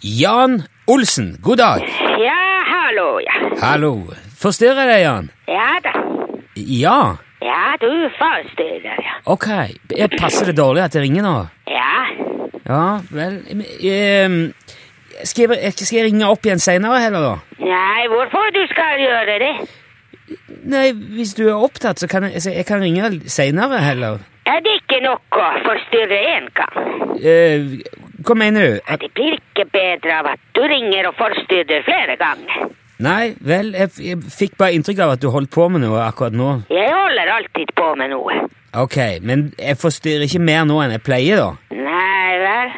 Jan Olsen, god dag. Ja, hallo, ja. Hallo. Forstyrrer jeg deg, Jan? Ja da. Ja. Ja, du forstiller, ja. Ok. Jeg passer det dårlig at jeg ringer nå? Ja. Ja, vel ehm, skal, jeg, skal jeg ringe opp igjen seinere heller, da? Nei, hvorfor du skal gjøre det? Nei, hvis du er opptatt, så kan jeg, så jeg kan ringe seinere heller. Er det ikke nok å forstyrre en gang? Eh, hva mener du? Ja, At, det blir ikke bedre av at du ringer og forstyrrer flere ganger. nei, vel, jeg, f- jeg fikk bare inntrykk av at du holdt på med noe akkurat nå. Jeg holder alltid på med noe. Ok, men jeg forstyrrer ikke mer nå enn jeg pleier, da. Nei vel?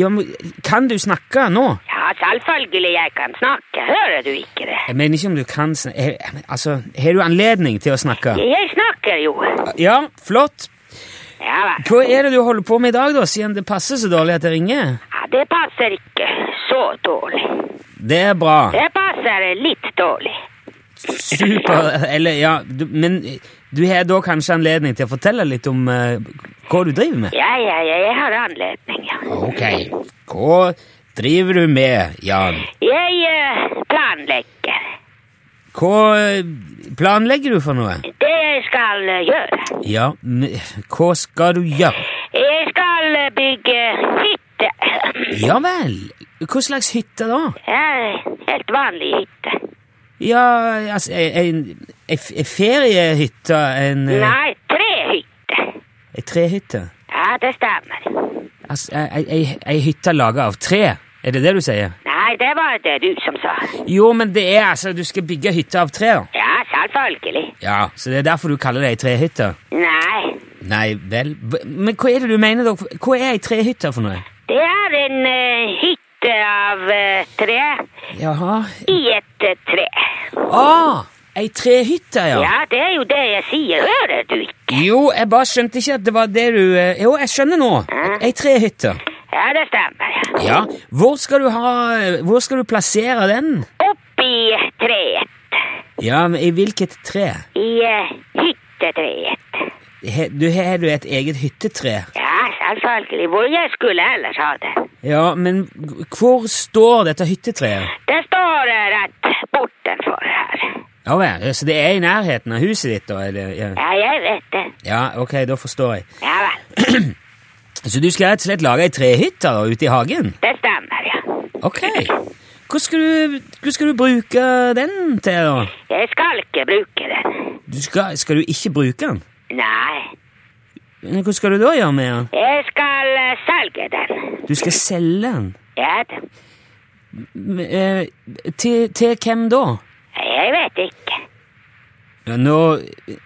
Ja, men, kan du snakke nå? Ja, selvfølgelig jeg kan snakke. Hører du ikke det? Jeg mener ikke om du kan snakke Altså, har du anledning til å snakke? Jeg snakker jo. Ja, flott. Ja vel. Hva er det du holder på med i dag, da, siden det passer så dårlig at jeg ringer? Ja, det passer ikke så dårlig. Det er bra. Det passer litt dårlig. Super. Eller, ja du, Men du har da kanskje anledning til å fortelle litt om eh, hva du driver med? Ja, ja, ja, jeg har anledning, ja. Ah, Ok. Hva driver du med, Jan? Jeg eh, planlegger Hva eh, planlegger du for noe? det jeg skal eh, gjøre. Ja, men hva skal du gjøre? Jeg skal eh, bygge hytte. Ja vel. Hva slags hytte da? Ja, helt vanlig hytte. Ja, altså, en, en, en feriehytte, en, eh, Nei, trehytte. en trehytte. Ja, det stemmer. Altså, ei, ei, ei hytte laget av tre, er det det du sier? Nei, det var det du som sa. Jo, men det er altså, du skal bygge hytte av tre, da. Ja, selvfølgelig. Ja, så det er derfor du kaller det ei trehytte? Nei, Nei, vel, b- men hva er det du mener, da? Hva er ei trehytte for noe? det er en eh, hytte av eh, tre Jaha. i et eh, tre. Ah, ei trehytte, ja. Ja, det er jo det jeg sier. Hører du ikke? Jo, jeg bare skjønte ikke at det var det du eh, Jo, jeg skjønner nå. Ei trehytte. Ja, det stemmer. Ja. Hvor skal du ha Hvor skal du plassere den? Oppi treet. Ja, men i hvilket tre? I eh, hyttetreet. He, du har du et eget hyttetre. Ja, selvfølgelig. Hvor jeg skulle ellers ha det. Ja, men g- hvor står dette hyttetreet? Det står eh, rett bortenfor her. Ja vel, så det er i nærheten av huset ditt, da? Eller, ja. Ja, jeg vet det. ja, ok, da forstår jeg. Ja vel. Så du skal rett og slett lage ei trehytte da, ute i hagen? Det stemmer, ja. Ok. Hva skal, du, hva skal du bruke den til, da? Jeg skal ikke bruke den. Du skal, skal du ikke bruke den? Nei. Men Hva skal du da gjøre med den? Jeg skal eh, selge den. Du skal selge den? Ja, da. M- eh, Til, til hvem da? jeg vet ikke. Ja, nå,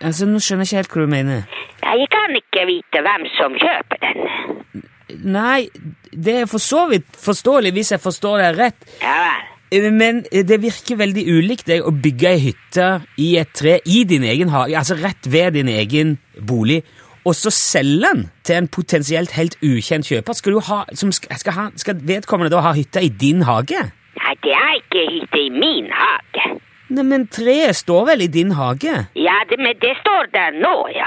altså, nå skjønner jeg ikke helt hva du mener. Jeg kan ikke vite hvem som kjøper den. Nei, det er for så vidt forståelig hvis jeg forstår deg rett, Ja vel. Eh, men det virker veldig ulikt deg å bygge ei hytte i et tre i din egen hage, altså rett ved din egen bolig, og så selge den til en potensielt helt ukjent kjøper. Skal, du ha, som skal, skal, han- skal vedkommende da ha hytta i din hage? Nei, det er ikke hytte i min hage. Nei, men treet står vel i din hage? Ja, det, men det står der nå, ja.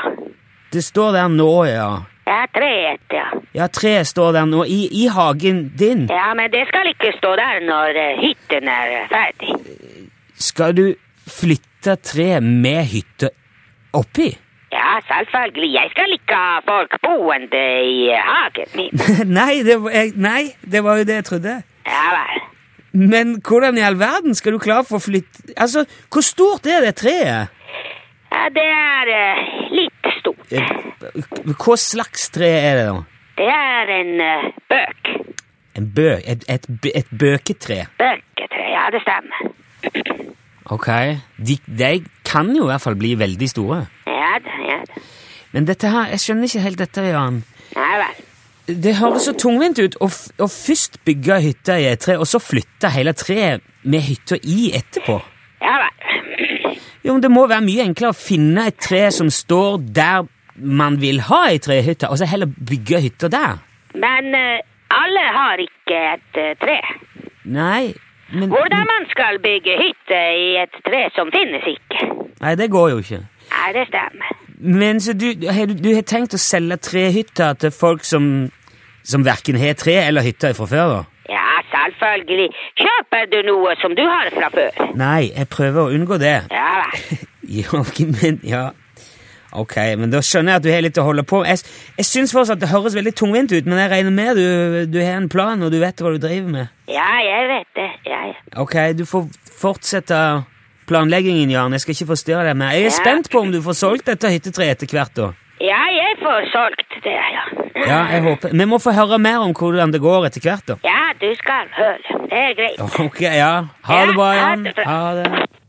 Det står der nå, ja. Ja, treet, ja. Ja, treet står der nå, i, i hagen din. Ja, men det skal ikke stå der når eh, hytten er eh, ferdig. Skal du flytte treet med hytta oppi? Ja, selvfølgelig. Jeg skal ikke ha folk boende i eh, hagen min. nei, det var, jeg, nei, det var jo det jeg trodde. Ja vel. Men hvordan i all verden skal du klare for å flytte Altså, hvor stort er det treet? Ja, det er eh, litt stort. Eh, Hva slags tre er det, da? Det er en eh, bøk. En bø, et, et, bø- et bøketre. Bøketre, ja, det stemmer. Ok. De, de kan jo i hvert fall bli veldig store. Ja da, ja da. Men dette her, jeg skjønner ikke helt dette, Jan. Ja vel. Det høres så tungvint ut å, f- å først bygge hytta i et tre, og så flytte hele treet med hytta i etterpå. Ja vel. Jo, men Det må være mye enklere å finne et tre som står der man vil ha ei trehytte, og så heller bygge hytta der. Men eh, alle har ikke et eh, tre. Nei, men Hvordan man skal bygge hytte i et tre som finnes ikke. Nei, det går jo ikke. Ja, det stemmer. Men så du, har du, du har tenkt å selge trehytter til folk som, som verken har tre eller hytter fra før? da? Ja, selvfølgelig. Kjøper du noe som du har fra før? Nei, jeg prøver å unngå det. Ja vel. Ja, ok, men ja. Ok, men da skjønner jeg at du har litt å holde på med. Jeg, s- jeg syns fortsatt at det høres veldig tungvint ut, men jeg regner med du, du har en plan, og du vet hva du driver med. Ja, jeg vet det. Ja, ja. Ok, du får fortsette planleggingen, Jan. Jeg skal ikke forstyrre deg mer. Jeg er Ja. spent på om du får solgt dette hyttetreet etter hvert, da. ja jeg får solgt det, ja. Ja, jeg håper. Vi må få høre mer om hvordan det går etter hvert, da. Ja, du skal høre. Det er greit. Ok, ja. Ha det bra, Jan. Ha det.